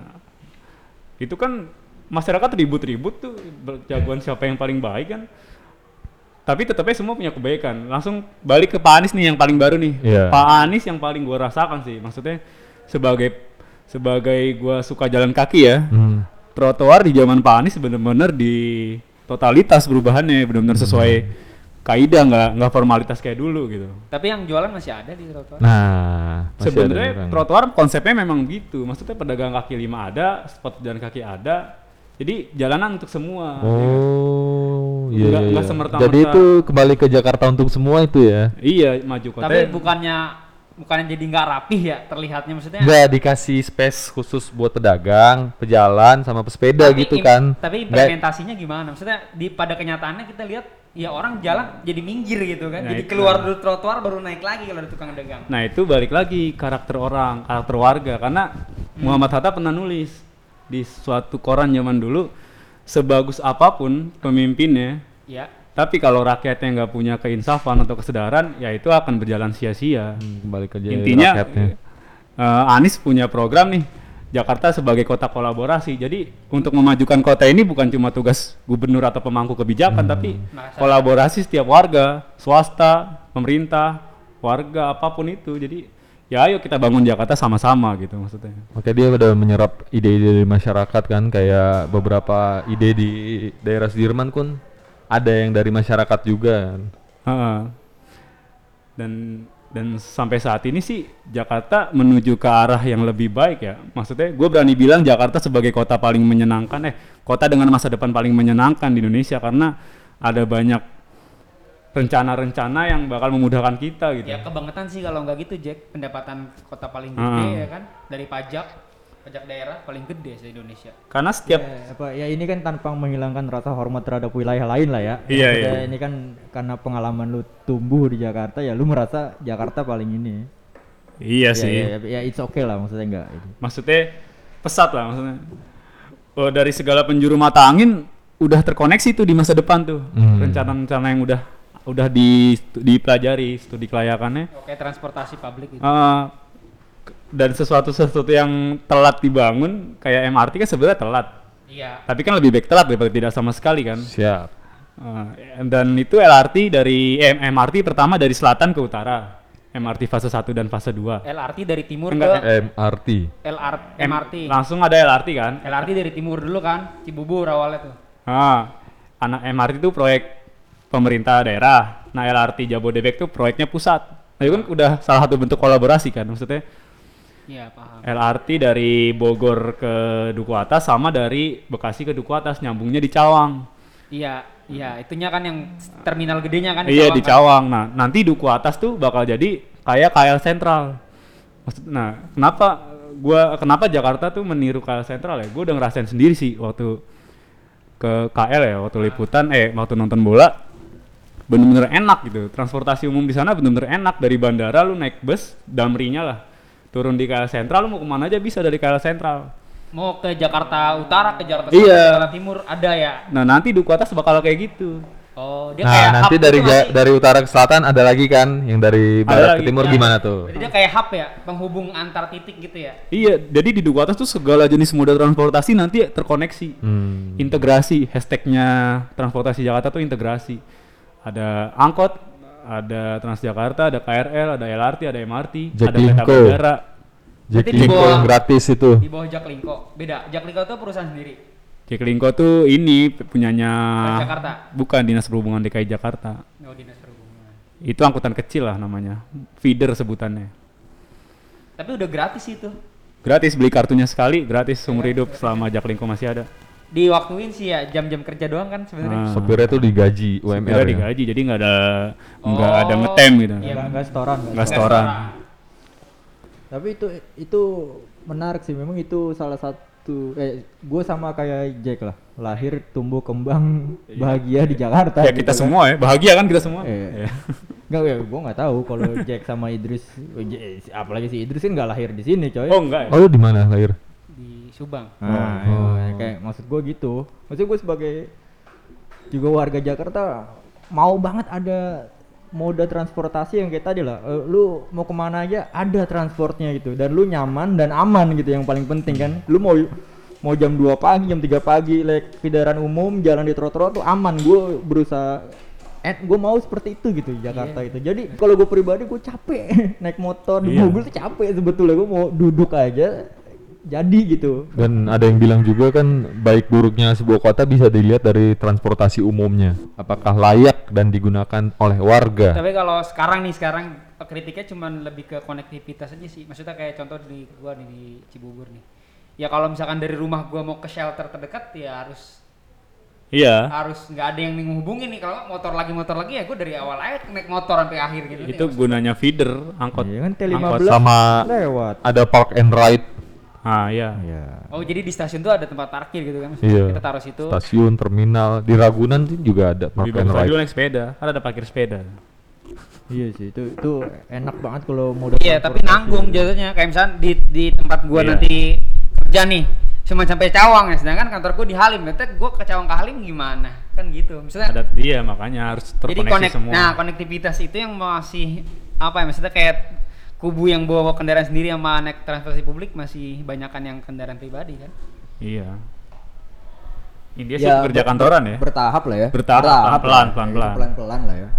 C: itu kan masyarakat ribut-ribut tuh ber- jagoan siapa yang paling baik kan. Tapi tetapnya semua punya kebaikan. Langsung balik ke Pak Anies nih yang paling baru nih.
E: Iya.
C: Pak Anies yang paling gua rasakan sih. Maksudnya sebagai sebagai gua suka jalan kaki ya.
E: Hmm.
C: Trotoar di zaman Pak Anies bener-bener di totalitas perubahannya bener-bener sesuai
E: Hmm.
C: kaidah nggak nggak formalitas kayak dulu gitu.
D: Tapi yang jualan masih ada di trotoar.
E: Nah, masih ada
C: Sebenarnya
E: orang.
C: trotoar konsepnya memang gitu. Maksudnya pedagang kaki lima ada, spot jalan kaki ada. Jadi jalanan untuk semua.
E: Oh, iya.
C: Nggak-
E: iya,
C: nggak
E: iya.
C: semerta-merta.
E: Jadi itu kembali ke Jakarta untuk semua itu ya.
C: Iya, maju kota.
D: Tapi bukannya bukannya jadi nggak rapih ya terlihatnya maksudnya.
E: Nggak dikasih space khusus buat pedagang, pejalan sama pesepeda
D: Tapi
E: gitu
D: im-
E: kan.
D: Tapi
E: Nggak-
D: implementasinya gimana? Maksudnya di pada kenyataannya kita lihat ya orang jalan jadi minggir gitu kan.
C: Nah,
D: jadi
C: itu.
D: keluar dulu trotoar baru naik lagi kalau ada tukang dagang.
C: Nah, itu balik lagi karakter orang, karakter warga karena Muhammad Hatta pernah nulis di suatu koran zaman dulu sebagus apapun pemimpinnya,
D: Ya.
C: tapi kalau rakyatnya nggak punya keinsafan atau kesadaran, ya itu akan berjalan sia-sia.
E: Hmm, kembali ke jadi
C: intinya
E: rakyatnya.
C: eh, Anies punya program nih Jakarta sebagai kota kolaborasi. Jadi untuk memajukan kota ini bukan cuma tugas gubernur atau pemangku kebijakan,
E: Hmm.
C: tapi
D: Masyarakat.
C: kolaborasi setiap warga, swasta, pemerintah, warga apapun itu. Jadi ya ayo kita bangun Jakarta sama-sama gitu maksudnya.
E: Makanya dia udah menyerap ide-ide dari masyarakat kan kayak beberapa ide di daerah Sudirman pun ada yang dari masyarakat juga kan.
C: Heeh. Dan dan sampai saat ini sih Jakarta menuju ke arah yang lebih baik ya. Maksudnya gue berani bilang Jakarta sebagai kota paling menyenangkan eh kota dengan masa depan paling menyenangkan di Indonesia karena ada banyak rencana-rencana yang bakal memudahkan kita gitu.
D: Ya kebangetan sih kalau nggak gitu Jack pendapatan kota paling gede
C: Hmm.
D: ya kan dari pajak pajak daerah paling gede se Indonesia.
C: Karena setiap
B: Ya, apa ya ini kan tanpa menghilangkan rasa hormat terhadap wilayah lain lah ya.
C: Iya,
B: Maksudnya
C: iya.
B: Ini kan karena pengalaman lu tumbuh di Jakarta ya lu merasa Jakarta paling ini.
C: iya
B: Ya, ya, ya, ya, it's okay lah maksudnya enggak ini.
C: Maksudnya pesat lah maksudnya. Oh, dari segala penjuru mata angin udah terkoneksi tuh di masa depan tuh. Rencana-rencana yang udah udah di dipelajari studi kelayakannya.
D: Oke transportasi publik gitu. itu.
C: Eh, ke- dan sesuatu sesuatu yang telat dibangun kayak MRT kan sebenarnya telat.
D: Iya.
C: Tapi kan lebih baik telat daripada tidak sama sekali kan.
E: Siap.
C: Eh, dan itu LRT dari eh, MRT pertama dari selatan ke utara. MRT fase 1 dan fase 2.
D: LRT dari timur
C: Enggak,
D: ke
E: MRT.
D: LR MRT.
C: Langsung ada LRT kan.
D: LRT dari timur dulu kan Cibubur awalnya tuh.
C: Ah, anak MRT itu proyek pemerintah daerah. Nah, LRT Jabodebek itu proyeknya pusat. Nah, itu kan udah salah satu bentuk kolaborasi kan maksudnya.
D: Iya paham.
C: LRT dari Bogor ke Duku Atas sama dari Bekasi ke Duku Atas nyambungnya di Cawang.
D: Iya, iya, itunya kan yang s- terminal gedenya kan
C: iya di
D: Cawang kan.
C: Cawang. Nah, nanti Duku Atas tuh bakal jadi kayak KL Sentral. Maksud, nah, kenapa gua kenapa Jakarta tuh meniru KL Sentral ya? Gua udah ngerasain sendiri sih waktu ke KL ya, waktu liputan eh waktu nonton bola bener-bener enak gitu. Transportasi umum di sana bener-bener enak dari bandara lu naik bus damrinya lah. Turun di KL Sentral lu mau kemana aja bisa dari KL Sentral.
D: Mau ke Jakarta Utara, ke Jakarta
C: Iya.
D: Selatan, ke Jakarta Timur ada ya.
C: Nah, nanti Duku Atas bakal kayak gitu.
D: Oh, dia kayak
E: Nah, nanti
D: hub
E: dari
D: gitu
E: ja-
D: nggak sih?
E: dari utara ke selatan ada lagi kan yang dari barat
C: lagi.
E: ke timur
D: Ya.
E: gimana tuh?
D: Berarti dia kayak hub ya, penghubung antar titik gitu ya.
C: Iya, jadi di Duku Atas tuh segala jenis moda transportasi nanti terkoneksi.
E: Hmm.
C: integrasi hashtagnya transportasi Jakarta tuh integrasi ada angkot ada Transjakarta ada KRL ada LRT ada MRT
E: Jack
C: ada kereta
E: Linko.
C: bandara
A: Jack
D: Berarti di
A: Linko
D: bawah- Hmm.
A: yang gratis itu.
D: Di bawah Jaklingko. Beda. Jaklingko itu perusahaan sendiri.
C: Jack Linko tuh ini punyanya
D: Orang Jakarta.
C: bukan dinas perhubungan DKI Jakarta.
D: Oh, dinas perhubungan.
C: Itu angkutan kecil lah namanya, feeder sebutannya.
D: Tapi udah gratis itu.
C: Gratis beli kartunya sekali, gratis seumur hidup selama Jack Linko masih ada.
D: Diwaktuin sih ya jam-jam kerja doang kan sebenarnya.
C: Nah,
A: Sopirnya tuh digaji UMR ya.
C: Sebenarnya digaji, jadi nggak ada nggak
D: Oh,
C: ada ngetem gitu.
D: iya.
B: Nggak- nggak setoran nggak
C: Nggak
B: setoran.
C: setoran.
B: tapi itu itu menarik sih memang itu salah satu eh gue sama kayak Jack lah lahir tumbuh kembang bahagia di Jakarta
C: Iya. Ya kita semua ya, bahagia kan kita semua.
B: Iya.
C: Iya.
B: Enggak ya, gue nggak tahu kalau Jack sama Idris, eh, J- apalagi si Idris kan nggak lahir di sini, coy.
C: Oh enggak ya?
A: Oh lu di mana lahir?
D: Di Subang.
B: Nah, ya, kayak maksud gue gitu. Maksud gue sebagai juga warga Jakarta mau banget ada moda transportasi yang kayak tadi lah. Eh, lu mau kemana aja ada transportnya gitu dan lu nyaman dan aman gitu yang paling penting kan. Lu mau mau jam 2 pagi, jam 3 pagi like kendaraan umum jalan di trotoar tuh aman. Gue berusaha eh gue mau seperti itu gitu di Jakarta itu. Jadi kalau gue pribadi gue capek naik motor, di
C: Iya.
B: mobil tuh capek sebetulnya. Gue mau duduk aja jadi gitu.
A: Dan ada yang bilang juga kan baik buruknya sebuah kota bisa dilihat dari transportasi umumnya. Apakah layak dan digunakan oleh
C: Nah.
A: warga?
D: Tapi kalau sekarang nih sekarang kritiknya cuman lebih ke konektivitas aja sih. Maksudnya kayak contoh di gua nih di Cibubur nih. Ya kalau misalkan dari rumah gua mau ke shelter terdekat ya harus
C: Iya.
D: harus nggak ada yang menghubungin nih kalau nggak motor lagi motor lagi ya gua dari awal aja naik motor sampai akhir gitu.
C: Itu ya,
D: nih.
C: gunanya feeder angkot.
B: Iya kan T15
C: angkot.
A: Sama
B: lewat.
A: ada park and ride,
C: Ah iya.
B: Ya.
D: Oh jadi di stasiun tuh ada tempat parkir gitu kan? Maksudnya
A: Iya.
D: Kita taruh situ.
A: stasiun, terminal, di Ragunan tuh juga ada
C: Lebih
A: park and
C: bagus lagi
A: ride.
C: lu naik sepeda, kan ada parkir sepeda.
D: Nah.
B: Iya sih itu itu enak banget kalau mau
D: Iya tapi nanggung jatuhnya. Kayak misalnya di di tempat gua
C: Iya.
D: nanti kerja nih cuma sampai Cawang ya sedangkan kantor gua di Halim berarti gua ke Cawang ke Halim gimana kan gitu misalnya
C: Ada iya makanya harus
D: Jadi
C: terkoneksi
D: konek,
C: semua.
D: nah konektivitas itu yang masih apa ya maksudnya kayak kubu yang bawa kendaraan sendiri sama naik transportasi publik masih banyakan yang kendaraan pribadi kan.
C: Iya. India sih pekerja kantoran ya.
B: Bertahap lah ya.
C: Bertahap, Iya, pelan-pelan, pelan-pelan.
B: pelan lah ya.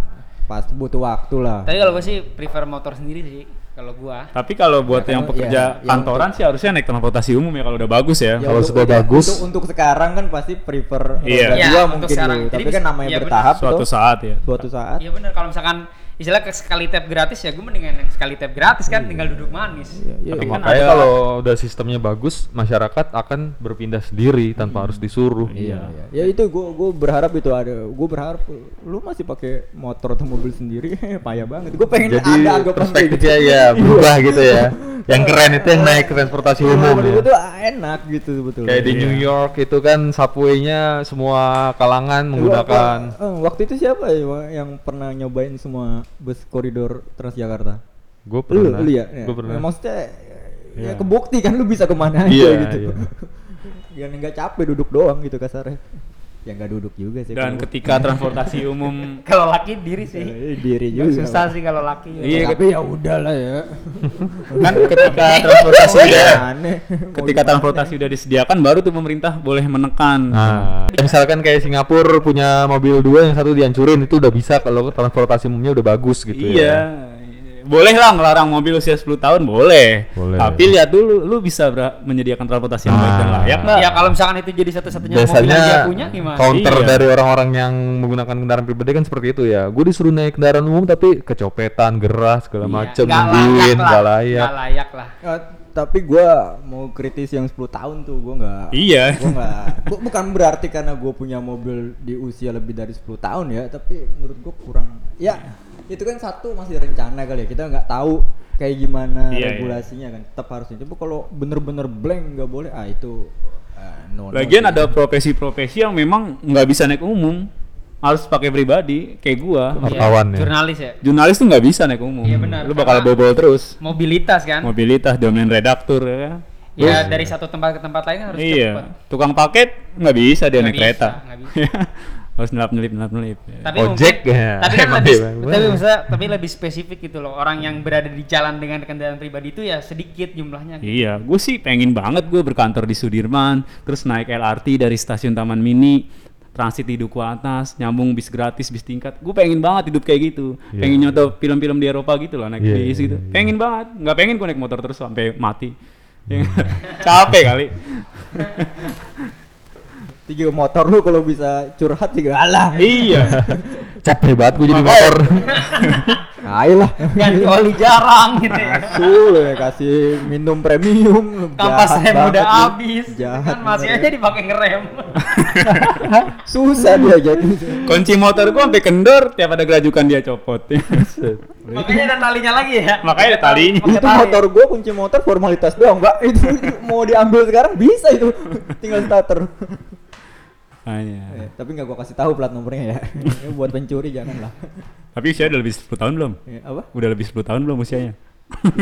B: Pasti butuh waktu lah.
D: Tapi kalau gue sih prefer motor sendiri sih kalau gua.
C: Tapi kalau buat ya, yang
B: kalau-
C: pekerja
B: iya, yang
C: kantoran sih harusnya naik transportasi umum ya kalau udah bagus ya.
B: Ya,
A: kalau
B: untuk-
A: sudah
B: untuk-
A: bagus.
B: untuk, untuk sekarang kan pasti prefer
C: Iya.
B: roda
D: Iya,
B: dua
D: untuk
B: mungkin
D: sekarang.
B: dulu.
D: Jadi
B: tapi kan
D: bisa-
B: namanya
D: iya, benar.
B: bertahap
C: Suatu
B: tuh
C: saat ya.
B: suatu saat
D: Iya bener kalau misalkan istilah ke sekali tap gratis ya gue mendingan yang sekali tap gratis kan tinggal duduk manis.
B: Iya,
A: Tapi
B: iya.
A: makanya kalau udah sistemnya bagus, masyarakat akan berpindah sendiri tanpa harus disuruh.
C: Iya.
B: Iya, ya itu gue gue berharap itu ada gue berharap lu masih pakai motor atau mobil sendiri payah banget gue
A: Jadi
B: pengen ada anggapan kayak gitu.
A: perspektifnya ya berubah gitu ya. Yang keren itu yang naik transportasi
B: Iya,
A: umum
B: menurut
A: ya.
B: gua tuh enak gitu sebetulnya
A: Kayak di New York itu kan subway-nya semua kalangan menggunakan
B: Waktu, eh, waktu itu siapa ya Wak, yang pernah nyobain semua bus koridor Transjakarta?
A: gue
B: Lu,
A: pernah
B: lu ya?
A: gue pernah
B: Maksudnya ya kebukti kan lu bisa kemana aja
A: Iya,
B: gitu.
A: iya.
B: Yang nggak capek duduk doang gitu kasarnya. Ya nggak duduk juga sih.
C: Dan
B: kalau-
C: ketika transportasi umum
D: Kalau laki diri sih.
B: Eh, diri juga.
D: Susah sih kalau laki.
B: Ya,
C: Iya,
B: tapi ya udahlah ya.
C: kan ketika transportasi udah
B: Aneh.
C: ketika transportasi udah disediakan baru tuh pemerintah boleh menekan.
A: Nah, misalkan kayak Singapura punya mobil dua yang satu dihancurin itu udah bisa kalau transportasi umumnya udah bagus gitu
C: iya.
A: ya.
C: Boleh lah ngelarang mobil usia 10 tahun, boleh.
A: Boleh.
C: Tapi lihat dulu, lu bisa ber- menyediakan transportasi yang baik dan
A: Nah.
C: layak nggak?
D: Ya kalau misalkan itu jadi satu-satunya mobil yang dia
A: Biasanya
D: punya gimana?
A: counter
C: Iya.
A: dari orang-orang yang menggunakan kendaraan pribadi kan seperti itu ya. Gue disuruh naik kendaraan umum tapi kecopetan, gerah segala
D: Iya,
A: macem,
D: nggak
A: nungguin,
D: lah.
A: gak layak.
D: Nggak layak lah.
B: Ya, tapi gua mau kritis yang 10 tahun tuh gua nggak
C: Iya.
B: gue nggak bu- bukan berarti karena gue punya mobil di usia lebih dari 10 tahun ya tapi menurut gue kurang ya itu kan satu masih rencana kali ya kita nggak tahu kayak gimana
C: Iya,
B: regulasinya kan tetap harusnya tapi kalau bener-bener blank nggak boleh ah itu ah, no, no
C: Lagian
B: sih.
C: ada profesi-profesi yang memang nggak bisa naik umum, harus pakai pribadi, kayak gua.
A: Wartawan
D: Iya,
A: ya.
D: Jurnalis ya.
C: Jurnalis tuh nggak bisa naik umum.
D: Iya, benar.
C: Lu bakal
D: Karena-
C: bobol terus.
D: Mobilitas kan.
C: Mobilitas, domain redaktur ya.
D: Ya dari satu tempat ke tempat lain kan harus
C: iya.
D: cepat.
C: Tukang paket nggak bisa dia
D: Nggak
C: naik
D: bisa,
C: kereta.
D: nggak
C: harus nelap nelip nelap nelip.
D: Tapi
A: Ojek
D: mungkin,
A: ya.
D: tapi kan
A: Emang
D: lebih,
A: dia-
D: tapi maksudnya, tapi lebih spesifik gitu loh. Orang yang berada di jalan dengan kendaraan pribadi itu ya sedikit jumlahnya. Gitu.
C: Iya, gue sih pengen banget gue berkantor di Sudirman, terus naik LRT dari stasiun Taman Mini transit di duku atas nyambung bis gratis bis tingkat gue pengen banget hidup kayak gitu
A: Iya,
C: pengen
A: iya.
C: nyoto film-film di Eropa gitu loh naik
A: Iya,
C: bis
A: iya,
C: gitu
A: iya.
C: pengen banget nggak pengen gue naik motor terus sampai mati
A: Hmm.
C: Ya nggak? capek kali
B: tiga motor lu kalau bisa curhat juga alah
C: iya
E: Capek banget gue jadi motor.
B: ayolah
D: ganti oli jarang gitu ya.
B: Asul ya kasih minum premium
D: kampas
B: jahat
D: rem
B: banget
D: udah
B: lu.
D: habis
B: jahat
D: kan masih
B: bener
D: aja
B: ya.
D: dipakai ngerem
B: susah dia jadi
C: kunci motor gue sampai kendor tiap ada gerajukan dia copot
D: makanya ada talinya lagi ya
C: Makanya ada talinya.
D: Pakai
B: itu
D: tali.
B: motor gua kunci motor formalitas doang mbak itu mau diambil sekarang bisa itu tinggal starter
C: Ah,
B: Eh,
C: iya.
B: tapi nggak gua kasih tahu plat nomornya ya Ini buat pencuri janganlah
C: tapi usia udah lebih 10 tahun belum
B: Eh, apa
C: udah lebih 10 tahun belum usianya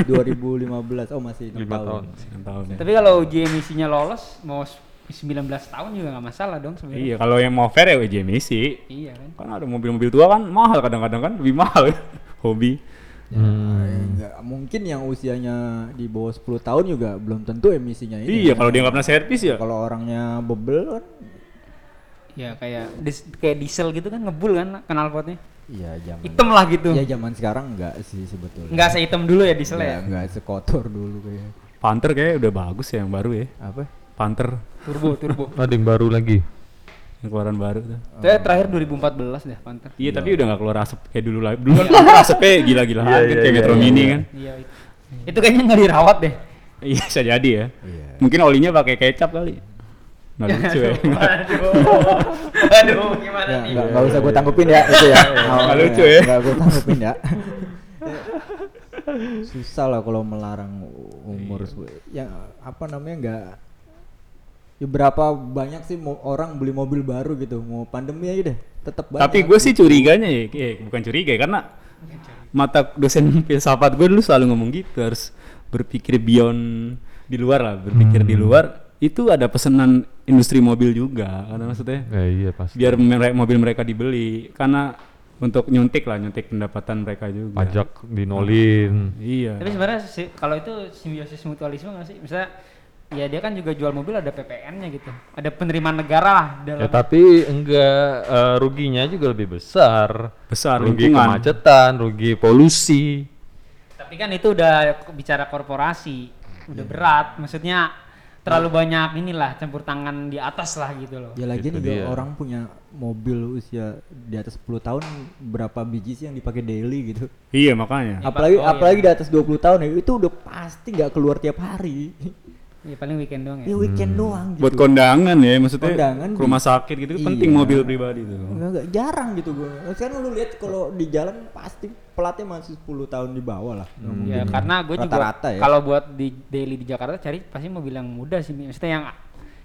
B: 2015 oh masih enam
A: lima tahun.
C: 6 tahun ya.
D: tapi kalau uji emisinya lolos mau 19 tahun juga nggak masalah dong sebenarnya
C: Iya, kalau yang mau fair ya uji emisi.
D: iya kan
C: Kan ada mobil-mobil tua kan mahal kadang-kadang kan lebih mahal hobi.
A: Hmm.
B: Eh, nggak- mungkin yang usianya di bawah 10 tahun juga belum tentu emisinya ini
C: Iya, kalau dia nggak pernah servis ya.
B: kalau orangnya bebel kan
D: ya kayak dis- kayak diesel gitu kan ngebul kan knalpotnya
B: iya zaman
D: hitam lah gitu
B: ya zaman sekarang enggak sih sebetulnya
D: nggak sehitam dulu ya diesel
B: Nggak-
D: ya
B: nggak sekotor dulu kayak
C: Panther kayak udah bagus ya yang baru ya.
B: apa
C: Panther
D: turbo turbo
E: Ada yang baru lagi.
C: yang keluaran baru tuh.
D: Saya terakhir 2014 deh Panther.
C: Iya, tapi udah nggak keluar asap kayak dulu lagi. Dulu kan keluar asapnya gila-gilaan
A: Iya,
C: kan,
A: iya,
C: kayak
A: iya,
C: Metro
A: iya,
C: Mini
A: iya.
C: kan.
D: Iya itu. Itu kayaknya nggak dirawat deh.
C: Iya, bisa jadi ya.
B: Iya.
C: Mungkin olinya pakai kecap kali. Nggak lucu ya.
D: Aduh. Aduh, gimana
B: ya
D: nih?
B: nggak nggak usah gue tanggupin ya itu ya
C: Iya. Nggak lucu ya.
B: nggak gue tanggupin ya susah lah kalau melarang u- umur se- ya apa namanya nggak ya berapa banyak sih mo- orang beli mobil baru gitu mau pandemi aja deh tetap banyak
C: Tapi gue sih curiganya ya, eh, bukan curiga ya, karena mata dosen filsafat gue dulu selalu ngomong gitu harus berpikir beyond di luar lah, berpikir di luar itu ada pesanan industri mobil juga karena maksudnya
A: Eh, iya pasti.
C: biar mere- mobil mereka dibeli karena untuk nyuntik lah nyuntik pendapatan mereka juga.
A: Pajak dinolin.
C: Iya.
D: Tapi sebenarnya si- kalau itu simbiosis mutualisme nggak sih? Misalnya ya dia kan juga jual mobil ada PPN-nya gitu. Ada penerimaan negara lah dalam.
A: Ya tapi enggak eh, ruginya juga lebih besar.
C: Besar,
A: rugi
C: lingkungan.
A: kemacetan, rugi polusi.
D: Tapi kan itu udah k- bicara korporasi, udah berat. Maksudnya terlalu banyak inilah campur tangan di atas lah gitu loh.
B: ya lagi
A: Itu
B: nih
A: dia.
B: orang punya mobil usia di atas 10 tahun berapa biji sih yang dipakai daily gitu
C: Iya makanya.
B: apalagi
D: Pak, oh,
B: apalagi di atas 20 tahun ya itu udah pasti nggak keluar tiap hari
D: Ya paling weekend doang
B: ya
D: ya.
B: weekend
C: Hmm.
B: doang gitu
C: Buat kondangan ya maksudnya
B: Kondangan
C: ke rumah sakit gitu
B: Iya.
C: penting mobil pribadi tuh.
B: Enggak, enggak jarang gitu gue. Sekarang lu lihat kalau di jalan pasti pelatnya masih 10 tahun di bawah lah. Nggak mungkin.
D: Ya karena gue juga
B: Rata-rata ya.
D: kalau buat di daily di Jakarta cari pasti mobil yang muda sih, maksudnya yang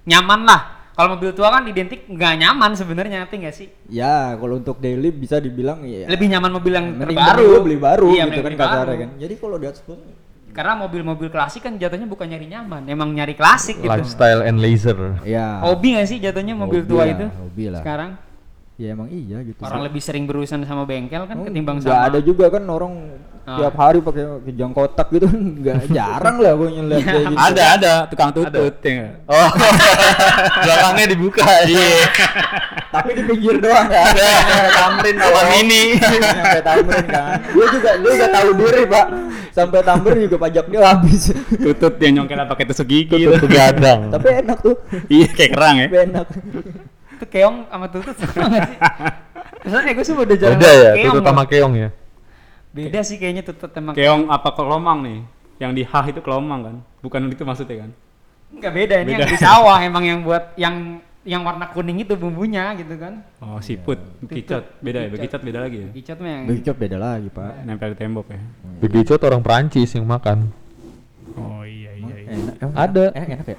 D: nyaman lah. Kalau mobil tua kan identik nggak nyaman sebenarnya, ngerti nggak sih?
B: Ya, kalau untuk daily bisa dibilang ya.
D: Lebih nyaman mobil yang
B: mending
D: terbaru.
B: dulu beli baru
D: Iya,
B: gitu
D: mending
B: kan
D: beli
B: kasarnya
D: baru.
B: kan. Jadi kalau di atas 10
D: Karena mobil-mobil klasik kan jatuhnya bukan nyari nyaman, emang nyari klasik gitu.
A: Lifestyle and laser.
B: ya.
D: Hobi nggak sih jatuhnya mobil
B: Hobi
D: tua
B: lah,
D: itu?
B: hobi lah.
D: Sekarang
B: Ya emang iya gitu.
D: orang lebih sering berurusan sama bengkel kan
B: Oh,
D: ketimbang
B: nggak
D: sama
B: ada juga kan orang
D: Ah.
B: tiap hari pakai kejang kotak gitu enggak jarang lah gue ngeliat
D: Iya,
B: kayak gitu.
C: Ada ada tukang tutut ya nggak?
E: Oh. Belakangnya dibuka. Iya.
B: Tapi di pinggir doang kan.
E: Tamrin lawan ini.
B: sampai tamrin kan. Dia juga dia juga tahu diri, Pak. Sampai tamrin juga pajak dia habis.
C: tutut yang nyongkel apa pakai tusuk gigi
E: Itu
C: gitu.
E: gadang.
B: Tapi enak tuh.
D: Eh?
C: iya kayak kerang ya
B: Tapi enak.
D: itu keong sama tutut sama nggak sih? Maksudnya gue sih udah jarang
A: Beda ya,
D: pakai
A: itu
D: keong,
A: sama
D: loh.
A: keong ya.
D: Beda sih kayaknya tutut sama
C: keong apa kelomang nih yang di H itu kelomang kan bukan itu maksudnya kan
D: Enggak beda ini yang
C: Beda.
D: di sawah emang yang buat yang yang warna kuning itu bumbunya gitu kan.
C: oh siput bekicot beda ya bekicot beda lagi ya
D: Gicot mah yang
B: Bekicot beda lagi, Pak.
C: nempel di tembok ya
E: Begitu orang Perancis yang makan.
C: oh iya iya
B: Enak. emang
E: Ada.
B: Enak, enak ya?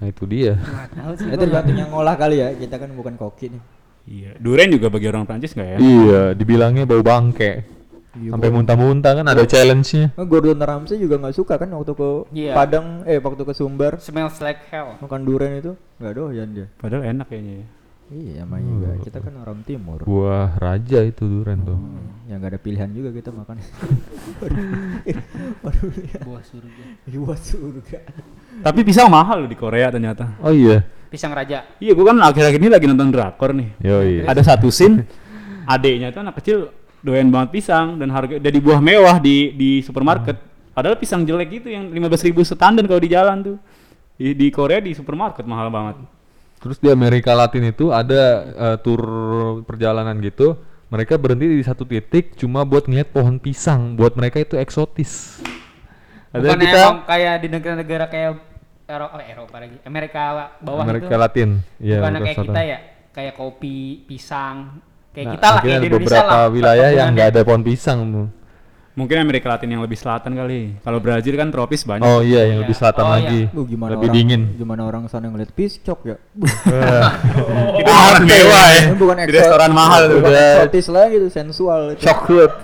E: Nah itu dia.
D: Nggak tahu sih.
B: Itu tergantung yang ngolah kali ya. Kita kan bukan koki nih.
C: iya duren juga bagi orang Prancis nggak ya
E: Iya, dibilangnya bau bangke. Sampai muntah-muntah kan ada challenge-nya.
B: Oh, Gordon Ramsay juga nggak suka kan waktu ke
D: Iya.
B: Padang, eh waktu ke Sumbar
D: Smells like hell.
B: makan durian itu nggak doyan dia.
C: padahal enak kayaknya ya
B: Iya, emang juga. Kita kan orang timur.
E: Buah raja itu durian tuh.
B: Ya nggak ada pilihan juga kita makan. Waduh,
D: Buah surga.
B: buah surga.
C: tapi pisau mahal loh di Korea ternyata
E: Oh iya.
D: Pisang Raja.
C: Iya, gue kan akhir-akhir ini lagi nonton drakor nih.
A: Yoi.
C: Ada satu scene adeknya tuh anak kecil doyan banget pisang dan harga dari buah mewah di di supermarket. Padahal pisang jelek gitu yang 15.000 ribu setandan kalau di jalan tuh. Di, di Korea di supermarket mahal banget.
A: Terus di Amerika Latin itu ada eh, tur perjalanan gitu, mereka berhenti di satu titik cuma buat ngeliat pohon pisang, buat mereka itu eksotis. Ada
D: Bukannya
A: kita
D: emang kayak di negara-negara kayak Eropa, oh, Eropa lagi, Amerika bawah
A: Amerika
D: itu.
A: Latin, Iya,
D: bukan
A: Amerika
D: kayak
A: Selatan.
D: kita ya, kayak kopi, pisang, kayak
A: Nah,
D: kita lah,
A: mungkin
D: kayak di
A: ada
D: Indonesia
A: beberapa
D: lah.
A: wilayah ya. yang nggak
D: perkebunan ya.
A: ada pohon pisang. Bu.
C: Mungkin Amerika Latin yang lebih selatan kali. Kalau Brazil kan tropis banyak.
A: Oh iya, yang
D: Iya.
A: lebih selatan
D: Oh, iya.
A: lagi,
B: Lu gimana
A: lebih
B: orang,
A: dingin.
B: Gimana orang sana ngeliat piscok ya?
C: Itu orang mewah ya.
B: Ini bukan
C: Di
B: eksot-
C: restoran mahal tuh.
B: bukan
A: udah.
B: eksotis Uh. lah gitu, sensual itu.
A: Chocolate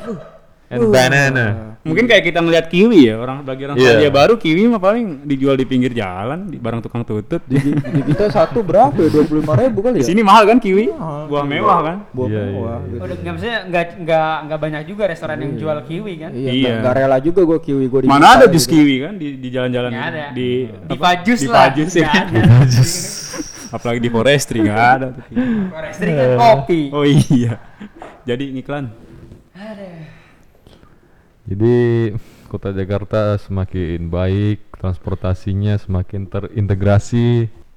A: and banana.
C: Mungkin kayak kita ngelihat kiwi ya, orang bagi orang
A: Iya.
C: Selandia baru kiwi mah paling dijual di pinggir jalan, di barang tukang tutut. Di
B: Di kita satu berapa ya? 25 ribu kali ya?
C: sini mahal kan kiwi?
B: Mahal.
C: Buah mewah kan?
B: Buah
A: Iya,
B: mewah
A: iya,
D: ya.
B: gitu.
D: Udah nggak maksudnya nggak nggak nggak banyak juga restoran yang jual kiwi kan.
C: Iya.
B: Iya, nggak- nggak rela juga gue kiwi gue di
C: Mana ada
B: gitu.
C: jus kiwi kan di di jalan-jalan
D: Nggak ada.
C: di
D: Di
C: apa?
D: Pajus
C: di
D: lah.
C: Pajus ya.
D: nggak ada.
C: Apalagi di forestry nggak ada. tuh kiwi.
D: Forestry kan kopi.
C: Oh iya. Jadi ngiklan.
A: Jadi kota Jakarta semakin baik, transportasinya semakin terintegrasi.